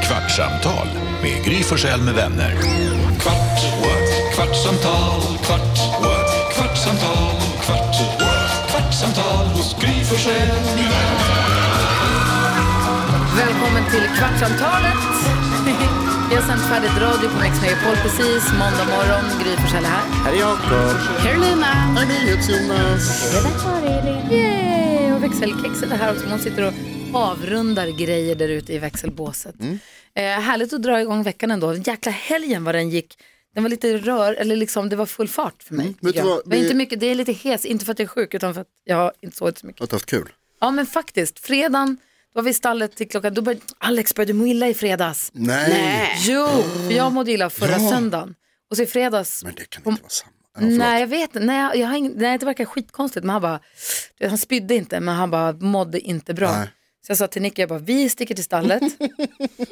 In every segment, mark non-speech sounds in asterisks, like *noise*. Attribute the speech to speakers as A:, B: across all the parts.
A: kvartsamtal med Gry Forssell med vänner. Kvart, what? kvartsamtal, kvart, what? kvartsamtal, kvart, what? kvartsamtal hos Gry Forssell med vänner.
B: Välkommen till Kvartsamtalet. *laughs* Vi har sänt färdigt radio på Mix Megapol precis. Måndag morgon, Gry Forssell här.
C: Här är Jakob.
B: Carolina.
C: Här är Jonas.
B: Yay! Och växelkexet är här också. Hon sitter och avrundar grejer där ute i växelbåset.
C: Mm.
B: Eh, härligt att dra igång veckan ändå. Jäkla helgen vad den gick. Den var lite rör, eller liksom det var full fart för mig. tycker
C: Mm. Vet du
B: jag.
C: vad,
B: det var
C: vi-
B: inte mycket, det är lite hes, inte för att jag är sjuk utan för att jag har inte sovit så mycket.
C: Har du haft kul?
B: Ja men faktiskt, fredagen, då var vi i stallet till klockan, då började, Alex började må illa i fredags.
C: Nej.
B: Jo, för jag mådde illa förra söndagen. Och så i fredags,
C: Men det kan inte vara samma. Ja, förlåt.
B: nej jag vet inte, nej, jag har ingen, nej det verkar skitkonstigt men han bara, du vet, han spydde inte men han bara mådde inte bra.
C: Nej.
B: Så jag sa till Nicky, jag bara vi sticker till
C: *laughs*
B: stallet,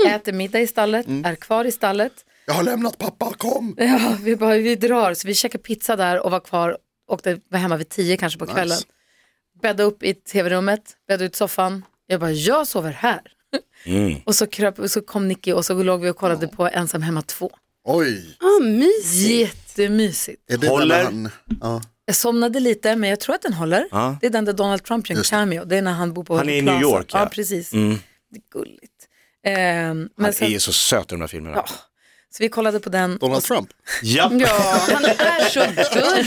B: äter middag i stallet,
C: Mm.
B: är kvar i stallet.
C: Jag har lämnat pappa, kom.
B: *laughs* Ja, vi, bara, vi drar, så vi käkade pizza där och var kvar, åkte, var hemma vid tio kanske på kvällen.
C: Nice.
B: Bädda upp i tv-rummet, bädda ut soffan. Jag bara, jag sover här.
D: Mm.
B: *laughs* Och så, kröp, och så kom Nicky och så låg vi och kollade på Ensam hemma 2.
C: Oj.
B: Ah. Jättemysigt.
C: Är det
D: Håller.
C: När han... ja.
B: Jag somnade lite men jag tror att den håller.
D: Ja.
B: Det är den där Donald Trump gör en
C: Just det.
B: cameo. Det är när han bor på
D: Han är i
B: Plaza.
D: New York,
B: Ja,
D: ja. Mm.
B: precis. Det är gulligt. Ehm, men
D: Han
B: sen,
D: är ju så söt i de här filmerna.
B: ja, så vi kollade på den.
C: Donald Trump?
D: Ja.
B: Ja, han är så gullig.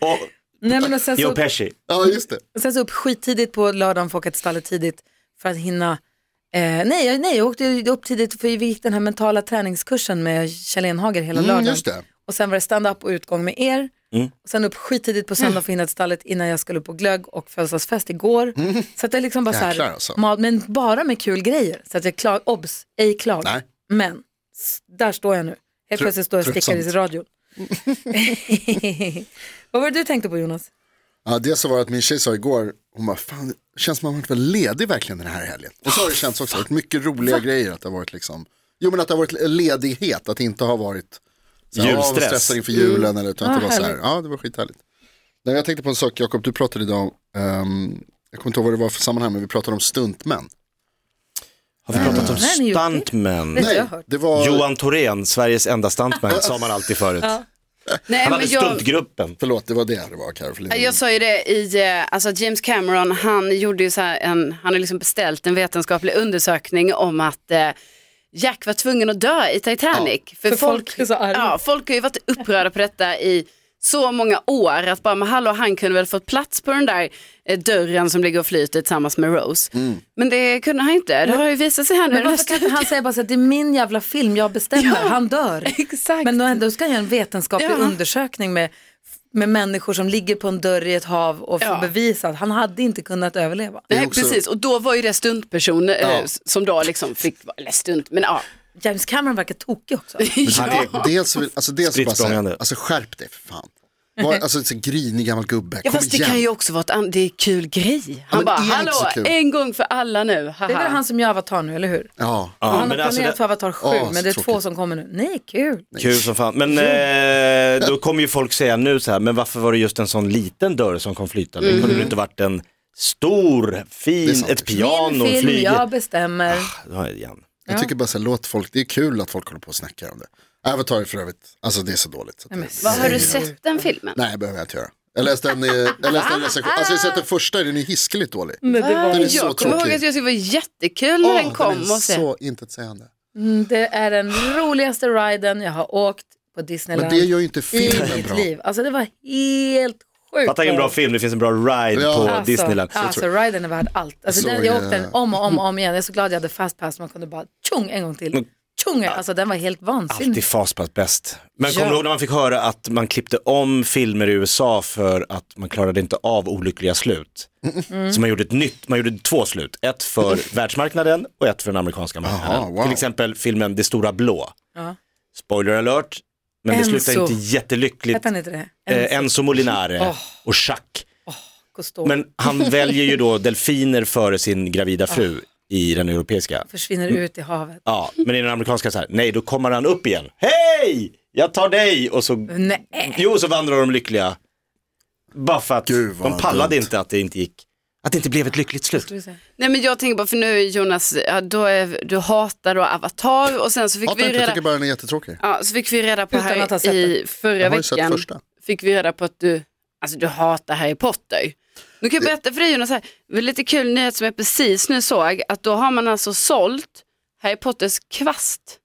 D: Och
B: Nej, men och sen
D: Joe
B: så
D: Pesci.
C: Ja, just det.
B: Och Sen så upp skittidigt på lördagen för att åka till stallet tidigt för att hinna. Eh, nej, jag- nej, jag åkte ju upp tidigt för vi gick den här mentala träningskursen med Kjell Enhager hela
C: Mm,
B: lördagen.
C: just det.
B: Och sen var det stand-up och utgång med er. Och sen upp skittidigt på söndag för att hinna till stallet innan jag skulle upp på glögg och födelsedagsfest igår. Så att det är liksom bara så här,
C: Mm. Jäklar, alltså.
B: mat- men bara med kul grejer. Så att jag klag, obs, ej klag.
C: Nej.
B: Men s- där står jag nu. Helt plötsligt står jag och stickar i
C: tröttsamt.
B: radion. *laughs* Vad var det du tänkte på Jonas?
C: Ja, det så var att min tjej sa igår, hon bara, fan, det känns som att man varit väl ledig verkligen den här helgen. Och så har det känts också, det har varit mycket roliga grejer att det har varit liksom, jo men att det har varit ledighet, att det inte har varit så här,
D: Julstress.
C: "Ja, vad stressar inför julen eller utan att
B: Ah,
C: det var så här,
B: härligt.
C: ja det var skithärligt. Nej, jag tänkte på en sak, Jakob, du pratade idag, ehm, jag kommer inte ihåg vad det var för sammanhang, men vi pratade om stuntmän.
D: Har vi pratat om
B: Nej, ni gjorde det.
D: stuntmen?
B: Nej. Jag har
C: Nej,
B: hört.
C: det var,
D: Johan Thorén, Sveriges enda stuntman, sa man alltid förut.
E: Nej,
D: Han
E: men
D: hade
E: jag,
D: stuntgruppen.
C: förlåt, det var det det var, Karolina.
E: jag sa ju det i, eh, alltså James Cameron, han gjorde ju så här en, han har liksom beställt en vetenskaplig undersökning om att eh, Jack var tvungen att dö i Titanic.
B: För folk är så arga.
E: ja, folk har ju varit upprörda på detta i så många år att bara, men hallå, han kunde väl fått plats på den där eh, dörren som ligger och flyter tillsammans med Rose. Men det kunde han ju inte, det har ju visat sig här nu.
B: Men varför kan inte han säga bara så att det är min jävla film, jag bestämmer, han dör.
E: Exakt.
B: Men då ändå ska han göra en vetenskaplig
E: Ja.
B: undersökning med, med människor som ligger på en dörr i ett hav och får
E: Ja.
B: bevisa att han hade inte kunnat överleva.
E: Nej,
C: också-
E: precis, och då var ju det stuntpersoner eh,
C: Ja.
E: s- som då liksom fick, eller stunt, men ja.
B: James Cameron verkar tokig
E: *laughs*
B: också.
C: Men
D: Ja.
C: det- Dels, vill- alltså dels bara så här,
D: Stridssprångande.
C: alltså skärp dig för fan. Var, alltså så grinig gammal gubbe,
E: Ja,
C: kom
E: fast det kan ju
C: igen.
E: också vara ett an- det är kul grej. Han
C: men
E: bara,
C: det är inte
E: hallå,
C: så kul."
E: en gång för alla nu. Haha.
B: Det är väl han som gör Avatar nu, eller hur?
C: Ja,
D: Ja,
B: han har
D: men
B: planerat
D: alltså det-
B: för Avatar 7,
C: Åh, så
B: men det är två
C: tråkigt.
B: som kommer nu. Nej, kul.
D: Kul som fan. Men eh, då kommer ju folk säga nu så här, men varför var det just en sån liten dörr som kom flytande?
B: Mm.
D: Kunde det inte varit en stor,
C: Det är
D: fin,
C: sant.
D: ett piano,
B: Min film,
D: flyg?
B: jag bestämmer.
D: Ja, igen.
C: Jag tycker bara så här, låt folk, det är kul att folk håller på och snackar om det. Äh, Avatar är för övrigt, alltså det är så dåligt. Så att det,
E: Vad har du sett den filmen?
C: nej, det behöver jag inte göra. Jag läste en, eh, jag läste en recension, alltså jag har sett den första, den är hiskeligt dålig.
B: Men det,
E: Ah,
B: var,
C: Den är så
E: jag kommer ihåg
C: tråkig.
E: att jag tyckte det var jättekul när den kom.
C: den
E: och
C: är
E: så.
C: så intetsägande.
B: Mm, det är den roligaste riden jag har åkt på
C: Men
B: Disneyland
C: det gör ju inte
B: i
C: filmen
B: mitt
C: bra.
B: liv. Alltså det var helt sjukt.
D: Fatta en bra film, det finns en bra ride
C: Ja.
D: på
B: Alltså,
D: Disneyland.
B: Alltså, riden är värd allt. Alltså,
C: Så
B: den, jag
C: är-
B: åkte den om och om och om igen. Jag är så glad jag hade fast pass. Man kunde bara tjong en gång till. Tjong! Alltså den var helt vansinnig.
D: Alltid fastpass bäst. Men
B: Ja.
D: kommer du ihåg när man fick höra att man klippte om filmer i USA för att man klarade inte av olyckliga slut? Så man gjorde ett nytt, man gjorde två slut. Ett för världsmarknaden och ett för den amerikanska marknaden.
C: Aha, wow.
D: Till exempel filmen Det stora blå.
B: Ja.
D: Spoiler alert, men det
B: Enzo.
D: slutar inte jättelyckligt.
B: Hette han inte det?
D: Eh, Enzo Molinare
B: Åh.
D: och Jacques.
B: Cousteau
D: Men han väljer ju då delfiner före sin gravida fru i den europeiska.
B: försvinner ut i havet.
D: Ja, men i den amerikanska så här, nej då kommer han upp igen. Hej, jag tar dig! Och så,
B: Nej,
D: jo, så vandrar de lyckliga. Bara för att
C: Gud, vad
D: de pallade
C: dumt.
D: inte att det inte gick. Att det inte blev ett lyckligt slut.
B: Ska vi se.
E: Nej men jag tänker bara, för nu Jonas, ja, då är, du hatar då Avatar och sen så fick
C: Hatar
E: vi
C: inte, jag
E: reda
C: tycker bara den är jättetråkig.
E: Ja, så fick vi reda på
B: Utan att ha
E: här
B: sett
E: i förra
C: Jag har ju sett
E: veckan,
C: första.
E: fick vi reda på att du, alltså du hatar Harry Potter. Nu kan jag berätta för dig Jonas, här, det var lite kul nyhet som jag precis nu såg, att då har man alltså sålt Harry Potters kvast,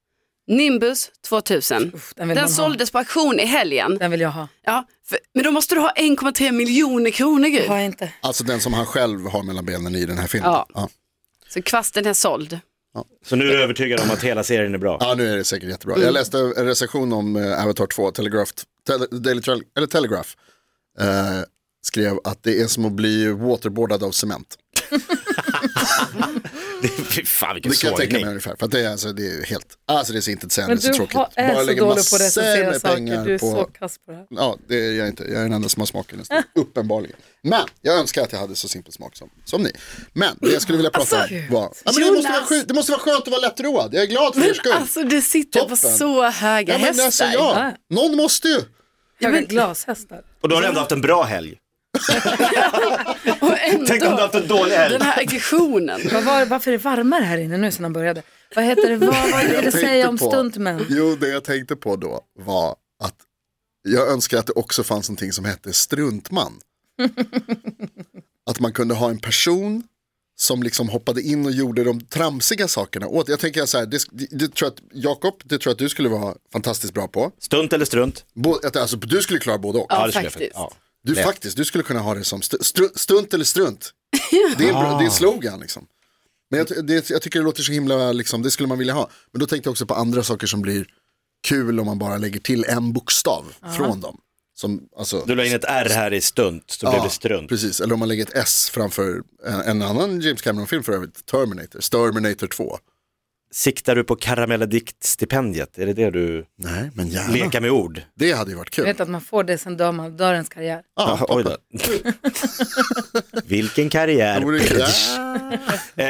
E: Nimbus 2000.
B: Uff, den vill
E: Den
B: man ha.
E: såldes på auktion i helgen.
B: Den vill jag ha.
E: Ja, för, men då måste du ha 1,3 miljoner kronor Gud.
B: Har jag inte.
C: Alltså den som han själv har mellan benen i den här filmen.
E: Ja.
C: Ja,
E: Så kvasten är såld.
D: Så nu är du övertygad om att hela serien är bra.
C: Ja, nu är det säkert jättebra.
B: Mm.
C: Jag läste en recension om eh, Avatar 2, Telegraph, tele, Daily Tele, eller Telegraph, eh, skrev att det är som att bli waterboardad av cement.
D: Fy fan vilken
C: Det kan jag tänka mig
D: sågning.
C: ungefär. För att det, är, alltså, det är helt, alltså det är så
B: Men
C: intetsägande,
B: du
C: så tråkigt.
B: har, är så dålig
C: lägger
B: på att
C: massor
B: recensera
C: med
B: saker.
C: pengar
B: Du är
C: på-
B: så kass på det här.
C: Ja, det är jag inte. Jag är den enda som har
B: *laughs*
C: smaken nästan. Uppenbarligen. Men jag önskar att jag hade så simpel smak som, som ni. Men det jag skulle vilja prata
E: Alltså,
C: om var... Ja, men det, måste vara
E: Jonas!
C: skönt, det måste vara skönt att vara lättroad. Jag är glad för er skull.
E: Alltså du sitter på
C: Toppen.
E: så höga
C: ja, men
E: hästar.
C: alltså, ja. Någon måste ju.
B: Jag har glashästar.
D: Och då har du ändå haft en bra helg.
E: Och ändå,
D: Tänk om du har haft en dålig helg.
E: den här aggressionen.
B: Vad var, varför är det varmare här inne nu sen han började? Vad heter det? Vad, vad är det
C: Jag
B: att
C: tänkte
B: säga om
C: på-
B: stuntmän?
C: Jo, det jag tänkte på då var att jag önskar att det också fanns någonting som
B: *laughs*
C: hette struntman. att man kunde ha en person som liksom hoppade in och gjorde de tramsiga sakerna åt. Jag tänker så här, det, det, det tror jag att Jakob, det tror jag att du skulle vara fantastiskt bra på.
D: Stunt eller strunt?
C: Både, att- alltså, du skulle klara både och.
E: Ja,
D: det skulle jag
E: faktiskt.
D: Ja.
C: Du
D: Lätt.
C: faktiskt, du skulle kunna ha det som stu- stru, stunt eller strunt. Det är, en, bra- det är
D: Ah.
C: en slogan liksom. Men jag, ty- det, jag tycker det låter så himla, liksom, det skulle man vilja ha. Men då tänkte jag också på andra saker som blir kul om man bara lägger till en bokstav från dem. Som, alltså,
D: Du la in ett R här i stunt, så blev det strunt.
C: Precis, eller om man lägger ett S framför en, en annan James Cameron-film för övrigt, Terminator, Terminator 2.
D: Siktar du på karamelladiktstipendiet? Är det det du...
C: Nej, men gärna.
D: Leka med ord?
C: Det hade ju varit
B: Jag
C: kul.
B: vet att man får det sen dör man, dör ens karriär.
D: Ja, oj då. Vilken karriär.
C: Det vore kul.
D: *laughs* Eh,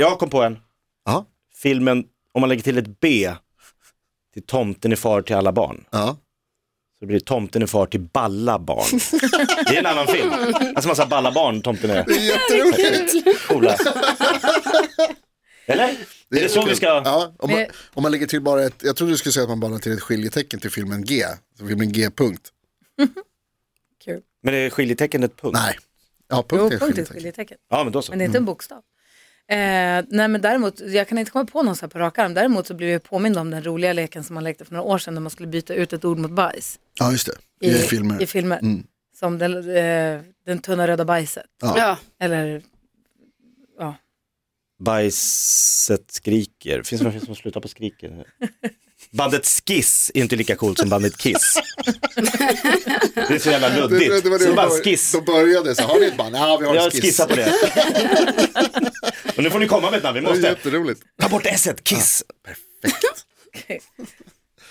D: jag kom på en.
C: Ja,
D: Filmen, om man lägger till ett B, till Tomten är far till alla barn.
C: ja.
D: Så det blir Tomten är far till balla barn. Det är en annan film. Alltså massa balla barn Tomten är.
C: Det är jätteroligt.
D: Coola. Eller? Det är, det så
C: kul.
D: vi ska...
C: Ja, om, man,
B: Men-
C: om man lägger till bara ett, jag trodde du skulle säga att man bara lägger till ett skiljetecken till filmen G. Så filmen G punkt.
B: Kul.
D: Men är skiljetecken ett punkt?
C: Nej. Ja, punkt
B: Jo,
C: är ett
B: punkt är ett
C: skiljetecken.
B: skiljetecken.
D: Ja, men då så.
B: Men det är inte en bokstav. Eh, nej men däremot, jag kan inte komma på någon så här på rak arm. Däremot så blev jag påmind om den roliga leken som man lekte för några år sedan när man skulle byta ut ett ord mot bajs
C: Ja, just det. I, filmer.
B: I filmer.
D: Mm.
B: Som den, eh, den tunna röda bajset.
E: Ja.
B: Eller *laughs*
D: Bajset skriker. Finns det någon film som slutar på skriker? Bandet Skiss är inte lika coolt som bandet Kiss. *laughs* Det är så jävla luddigt.
C: var
D: så
C: de
D: bara
C: bör-
D: Skiss.
C: De började så, har ni ett band? Ja, vi har
D: Jag
C: en skiss.
D: skissar på *laughs* det. Och nu får ni komma med ett namn, vi
C: Det är
D: måste.
C: jätteroligt.
D: Ta bort esset, Kiss.
C: Ja,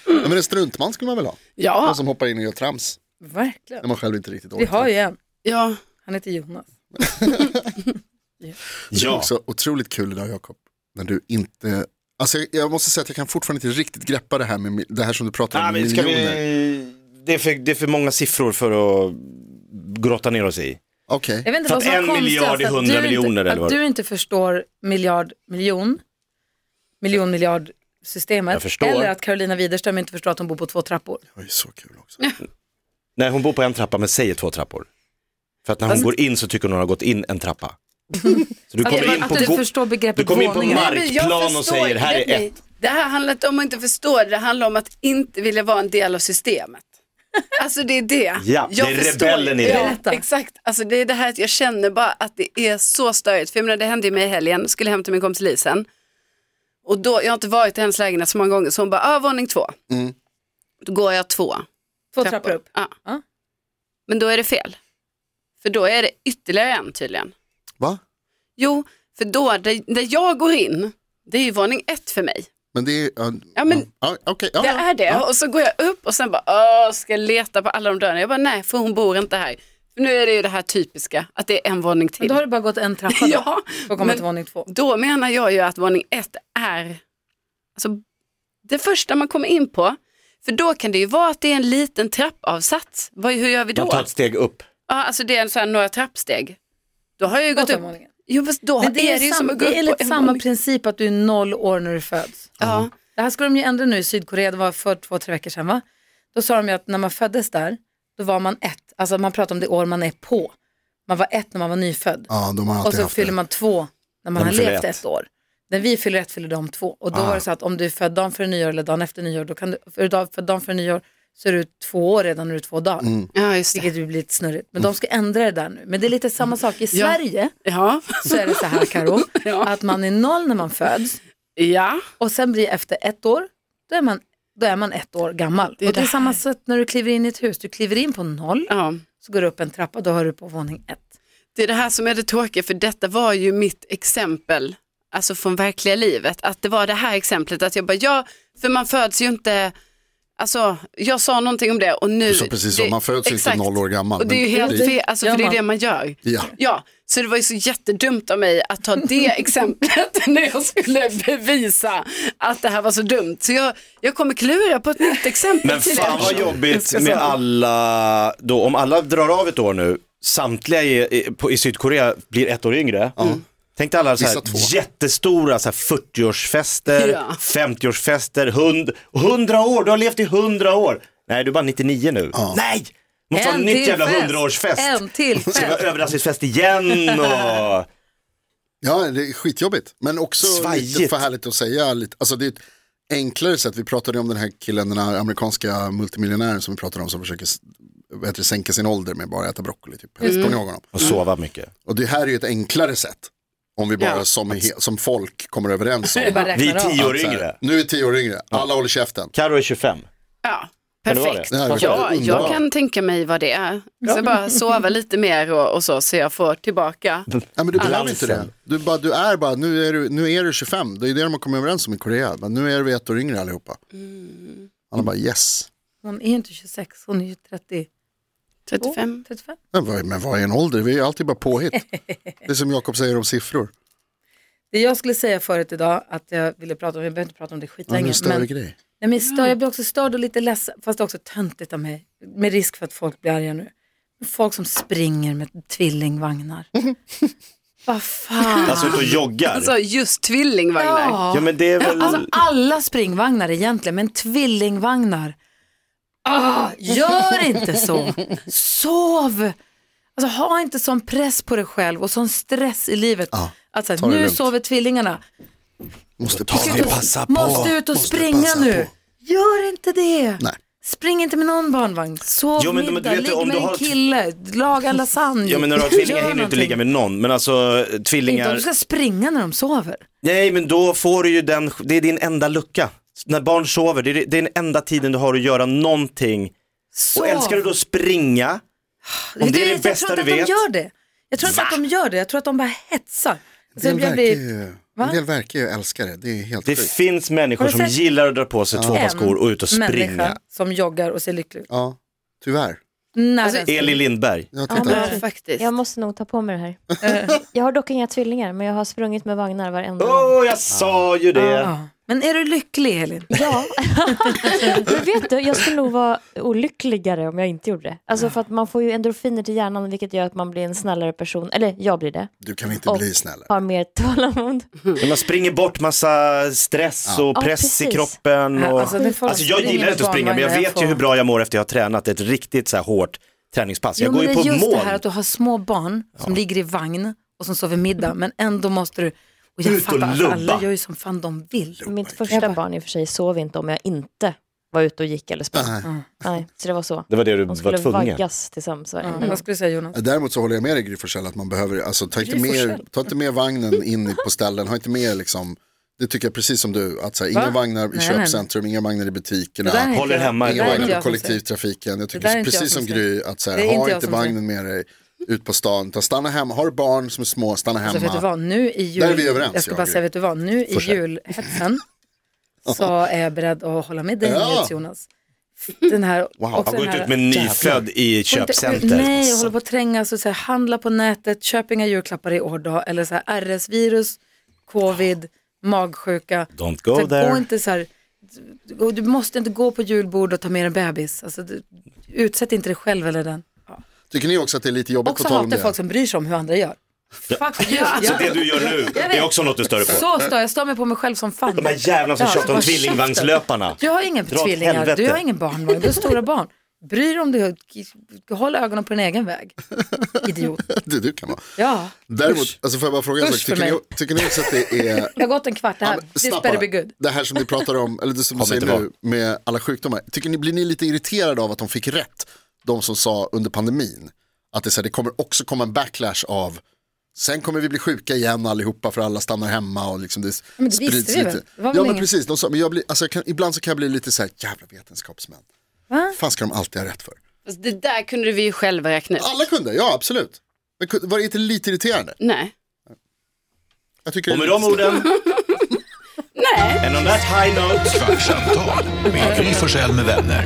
C: men en struntman skulle man väl ha?
E: Ja.
C: Någon som hoppar in och gör trams.
B: verkligen.
C: När man själv inte riktigt orkar.
B: Vi har ju en.
E: ja.
B: Han heter Jonas.
C: Det är
D: Ja.
C: också otroligt kul idag Jakob. När du inte, alltså jag, jag måste säga att jag kan fortfarande inte riktigt greppa det här med mi- det här som du pratar om,
D: Nej, men ska
C: miljoner.
D: vi... det, är för, det är för många siffror för att grotta ner oss i.
C: Okej,
B: Jag vet inte
D: För
B: vad
D: att
B: som var
D: en
B: konstigast,
D: miljard är
B: att
D: 100
B: du inte-
D: miljoner, eller
B: Att
D: vad?
B: du inte förstår miljard, miljon, miljon, miljard
D: Jag
B: systemet.
D: förstår.
B: Eller att Carolina Widerström inte förstår att hon bor på två trappor.
C: det var ju så kul också.
D: Nej, hon bor på en trappa men säger två trappor. För att när hon går in så tycker hon hon har gått in
B: *laughs*
D: en trappa. Så du
B: Att,
D: kommer in
B: att
D: på,
B: du
D: go-
B: förstår
D: du
B: begreppet
D: kommer in på
B: våningar.
E: Nej, men jag
D: markplan och
E: förstår
D: säger här
E: inte.
D: är ett.
E: Det här handlar inte om att inte förstå det, det handlar om att inte vilja vara en del
D: *laughs*
E: av systemet. Alltså det är det.
D: Ja,
E: jag
D: det är
E: förstår.
D: rebellen i dig.
E: Ja,
B: Berätta.
E: exakt, alltså det är det här att jag känner bara att det är så störigt. För jag menar det hände ju mig i helgen, skulle hem till min kompis Lisen. Och då, jag har inte varit i hennes lägenhet så många gånger så hon bara, ah, våning två.
D: Mm.
E: Då går jag två.
B: Två trappor upp.
E: Ja.
B: Ja.
E: Men då är det fel. För då är det ytterligare en tydligen.
C: Va?
E: Jo, för då, där, där jag går in, det är ju våning ett för mig.
C: Men det är, ja,
E: Ja, men-
C: ja, okej, ja,
E: Det
C: ja.
E: är det. Och så går jag upp och sen bara, åh, ska jag leta på alla de dörrarna. Jag bara, nej, för hon bor inte här. För nu är det ju det här typiska, att det är en våning
B: Men
E: till.
B: då har du bara gått en trappa då,
E: *laughs* Ja,
B: för att komma
E: men-
B: till våning två.
E: Då menar jag ju att våning ett är alltså, det första man kommer in på. För då kan det ju vara att det är en liten trappavsats. Vad, hur gör vi
D: Man
E: då?
D: tar ett steg upp.
E: Ja, alltså det är en så här några trappsteg. Då har jag ju gått upp.
B: månader.
E: Jo, fast då
B: Men det är,
E: det ju
B: sam-
E: som att
B: det
E: gå
B: är
E: upp på
B: enligt
E: en
B: samma
E: våning.
B: princip att du är noll år när du föds.
E: Ja.
B: Det här ska de ju ändra nu i Sydkorea, det var för två, tre veckor sedan va? Då sa de ju att när man föddes där, då var man ett, alltså man pratar om det år man är på. Man var ett när man var nyfödd
C: Ja, de har alltid
B: och så
C: haft
B: fyller
C: det.
B: man två när man
D: När
B: har
D: man fyller
B: levt
D: ett.
B: ett år. När vi fyller ett fyller de två och då var det så att om du är född dagen före nyår eller dagen efter nyår, då kan du, för dag- född dagen före nyår så är du två år redan när du är två dagar.
E: ja, just det.
B: Vilket ju blir lite snurrigt. Men de ska ändra det där nu. Men det är lite samma sak i Sverige.
E: Ja.
B: Så är det så här Karo,
E: *laughs* Ja.
B: att man är noll när man föds
E: ja.
B: och sen blir efter ett år, då är man, då är man ett år gammal.
E: Det är
B: och det är
E: det
B: samma
E: här.
B: sätt när du kliver in i ett hus. Du kliver in på noll,
E: ja.
B: så går du upp en trappa, då har du på våning ett.
E: Det är det här som är det tråkiga, för detta var ju mitt exempel, alltså från verkliga livet, att det var det här exemplet, att jag bara, ja, för man föds ju inte, alltså, jag sa någonting om det och nu...
C: Så precis
E: det,
C: så, man föds
E: exakt.
C: inte noll år gammal.
E: Och det är ju
C: men
E: helt
C: det-
E: fel, alltså,
B: gör
E: för det är
B: man.
E: det man gör.
C: Ja.
E: Ja, så det var ju så jättedumt av mig att ta det
C: *laughs*
E: exemplet *laughs* när jag skulle bevisa att det här var så dumt. Så jag, jag kommer klura på ett nytt exempel
D: Men
E: till
D: fan
E: er.
D: vad
E: Jag
D: jobbigt
E: ska
D: med
E: säga.
D: alla, då, om alla drar av ett år nu, samtliga i, i, på, i Sydkorea blir ett år yngre.
E: Mm.
D: Tänk dig alla så
C: Vissa två.
D: här jättestora så här 40-årsfester,
E: Ja.
D: 50-årsfester, hund, 100 år, du har levt i 100 år. Nej, du är bara 99 nu. Nej! Måste ha en Alltså, nytt jävla 100-årsfest.
B: En till
D: Ska vi ha
B: fest.
D: överraskningsfest igen
E: *laughs*
D: och...
C: Ja, det är skitjobbigt. Men också lite
D: Svajigt.
C: för härligt att säga. Lite, alltså det är ett enklare sätt. Vi pratade om den här killen, den här amerikanska multimiljonären som vi pratade om som försöker s- vad heter det, sänka sin ålder med bara att äta broccoli. Typ.
E: Mm.
C: Kommer ni ihåg honom?
D: Och sova mycket.
C: Och det här är ju ett enklare sätt. Om vi bara
E: Ja.
C: som, he- som folk kommer överens
E: *laughs*
C: om.
B: Bara
D: Vi är
B: räknar av.
D: 10 år
C: Så här,
D: yngre.
C: Nu är tio år yngre, alla håller käften.
D: Karo är 25.
E: Ja,
D: Kan det vara
E: perfekt.
D: det?
C: Det här är
E: Ja,
C: underbart.
E: jag kan tänka mig vad det är. Jag ska bara sova lite mer och, och så, så jag får tillbaka.
C: Nej, men du behöver inte det.
D: Balansen.
C: Du, bara, du är bara, nu är du, nu är du 25, det är det de har kommit överens om i Korea. Men nu är vi ett år yngre allihopa.
B: Mm.
C: Alla bara yes.
B: Hon är ju inte 26, hon är ju 30.
E: 35.
B: 35.
C: Men vad, men vad är en ålder? Vi är alltid bara påhitt.
B: *laughs*
C: Det är som Jakob säger om siffror.
B: Det jag skulle säga förut idag att jag ville prata om, jag behöver inte prata om det
C: Ja, men
B: skitlänge.
C: en större
B: men,
C: grej.
B: nej, men stör, jag blir också störd och lite ledsen, fast det är också töntigt av mig. Med risk för att folk blir arga nu. Folk som springer med tvillingvagnar. Vad fan.
D: Alltså ut och joggar.
E: Alltså just tvillingvagnar.
B: Ja.
D: Ja men det är väl...
B: Alltså alla springvagnar egentligen, men tvillingvagnar. Ah, gör inte
C: *laughs*
B: så. Sov. Alltså ha inte sån press på dig själv och sån stress i livet.
C: Ja,
B: att så här,
C: ta det
B: nu
C: lugnt.
B: sover tvillingarna.
C: Måste passa
D: det
C: på.
D: passa på.
B: Måste ut och
C: Måste
B: springa
C: passa
B: nu.
C: på.
B: Gör inte det.
C: Nej.
B: Spring inte med någon barnvagn. Sov
D: Jo, men- men du
B: middag,
D: vet ju,
B: ligg
D: om
B: med
D: du har
B: en
D: ett-
B: kille, laga lasagne.
D: Ja men när du har tvillingar
B: Gör
D: hinner du inte
B: någonting.
D: ligga med någon. Men alltså eh,
B: Inte om
D: tvillingar,
B: du ska springa när de sover.
D: nej men då får du ju den, det är din enda lucka. När barn sover, det är, det är den enda tiden du har att göra någonting.
B: Sov.
D: Och älskar du då att springa, om det är det bästa
B: jag tror
D: du
B: inte att
D: vet.
B: de gör det. Jag tror inte att de gör det. Jag tror att de bara hetsar.
C: En
B: Så jag
C: del
B: blir-
C: verkar ju,
B: Va?
C: en del verkar ju älska det. Det är helt
D: Det
C: sjukt.
D: finns människor
B: Har du
D: som
B: sett
D: gillar att dra på sig
B: en
D: tvåparskor och ut och springa.
B: människa Alltså- som joggar och ser lycklig ut.
C: Ja, tyvärr.
B: När
E: Alltså,
B: den ska-
D: Elin Lindberg.
C: Jag
B: Ja,
C: tittar.
B: men-
E: Ja, faktiskt.
F: Jag måste nog ta på mig det här. jag har dock inga tvillingar, men jag har sprungit med vagnar
D: *laughs*
F: varenda gång.
D: Åh, jag sa ju det.
B: ja. Men är du lycklig Elin?
F: Ja, men vet du, jag skulle nog vara olyckligare om jag inte gjorde det. Alltså för att man får ju endorfiner till hjärnan vilket gör att man blir en snällare person, eller jag blir det,
C: Du kan inte
F: Och-
C: bli snällare.
F: har mer tålamod.
D: Man springer bort massa stress och
F: Ja,
D: press i
F: precis.
D: kroppen. Och...
B: Alltså, det får
D: Alltså jag
B: springa
D: gillar inte att springa men jag
B: barnvagnar,
D: vet ju hur bra jag mår efter jag har tränat ett riktigt så här hårt träningspass.
B: får- Jo,
D: Jag går
B: men
D: ju
B: det är
D: på
B: just det här
D: moln.
B: att du har små barn som ligger i vagn och som sover middag men ändå måste du och jag
D: Ut och
B: fattar, alltså, alla
D: lubba.
B: gör ju som fan de vill.
F: Mitt första barn i och för sig sov inte om jag inte var ute och gick eller sprang.
G: Mm.
F: Nej, så det var så.
D: Det var det du
F: De
D: var
F: skulle
D: tvungen.
F: vaggas tillsammans.
B: Ja, Mm.
G: Mm.
B: Vad skulle du säga Jonas?
C: Däremot så håller jag med dig Gry Forssell att man behöver, alltså ta inte,
B: Gry
C: med,
B: Forssell.
C: ta inte med vagnen in på ställen, ha inte med liksom, det tycker jag precis som du, att så här,
B: Va?
C: inga vagnar i
B: Nej,
C: köpcentrum, inga vagnar i butikerna,
B: Det där är inte
D: Håller
B: jag-
D: hemma i
B: det där
C: inga
B: är
D: vagnen
B: inte
C: vagnar på
B: jag som säger.
C: kollektivtrafiken. Jag
B: där är
C: tycker
B: inte jag
C: precis
B: som
C: som
B: säger.
C: Gry, att så
B: Det är
C: här,
B: inte
C: ha
B: jag
C: inte
B: som säger.
C: vagnen med dig ut på stan, utan stanna hemma, har du barn som är små, stanna
B: Alltså, vet du
C: hemma.
B: vad, nu i jul,
C: Där är vi överens,
B: jag ska
C: jag
B: bara
C: och
B: säga,
C: Gry.
B: vet du vad, nu i
D: *laughs*
B: julhetsen så är jag beredd att hålla med dig
C: Ja.
B: Jonas. Den här,
C: Wow,
B: också den
D: Han går inte
B: här,
D: ut med en nyfödd i ett
B: Får inte-
D: köpcenter. liksom.
B: Nej, jag håller på att trängas och så här, handla på nätet, köp inga julklappar i år då, eller så här RS-virus, covid, magsjuka.
D: Don't
B: Så
D: go
B: här, Gå
D: there.
B: inte så här, och du måste inte gå på julbord och ta med en bebis. Alltså, du, utsätt inte dig själv eller den.
C: Tycker ni också att det är lite jobbigt
B: Också
C: på tal om
B: hatar
C: det?
B: folk som bryr sig om hur andra gör. Fuck you.
D: Så
B: Jag-
D: det du gör nu, det är också något du stör dig på.
B: Så stör jag stör mig på mig själv som fan.
D: De här jävlarna som
B: Ja,
D: tjatar om
B: vad käften.
D: tvillingvagnslöparna.
B: Du har inga
D: Dra åt
B: tvillingar,
D: helvete.
B: du har ingen barnvagn, du har stora barn. Bry dig om du, håll ögonen på din egen
D: *laughs*
B: väg. Idiot.
C: *laughs* Det du kan vara.
B: Ja,
C: Däremot, alltså får jag bara fråga en
B: Usch
C: sak,
B: för
C: tycker ni, tycker ni också att det är
B: det har gått en kvart, det här,
C: Ja, men
B: this
C: snabbt
B: better
C: bara.
B: be good.
C: Det här som ni pratar om, eller det som du
D: Kommer
C: säger
D: inte
C: nu med alla sjukdomar. Tycker ni, blir ni lite irriterade av att de fick rätt? De som sa under pandemin att det, är så här, det kommer också komma en backlash av Sen kommer vi bli sjuka igen allihopa för alla stannar hemma och liksom det
B: Men det visste
C: sprids
B: vi väl?
C: lite.
B: Det var väl
C: ja men
B: ingen-
C: precis, de sa, men jag blir, alltså jag kan, ibland så kan jag bli lite så här, jävla vetenskapsmän.
B: Va?
C: fan ska de alltid ha rätt för?
E: Fast det där kunde vi ju själva räkna ut.
C: Alla kunde, ja absolut. Men kunde- var det inte lite irriterande?
E: Nej.
C: Jag tycker
D: Och med
C: det är
D: de
C: lite snällt.
D: orden, and on that high note,
A: Kvartsamtal med Gry Forssell med vänner.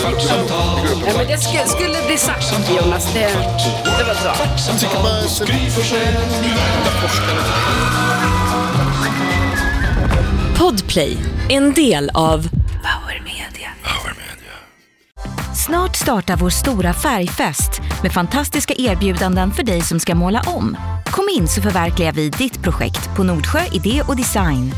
A: Kvartsamtal,
E: Ja, men det skulle, skulle bli sagt Jonas, det, det var bra.
A: kvartsamtal hos Gry Forssell med vänner.
G: Podplay, en del av Power Media. Snart startar vår stora färgfest med fantastiska erbjudanden för dig som ska måla om. Kom in så förverkligar vi ditt projekt på Nordsjö Idé och Design.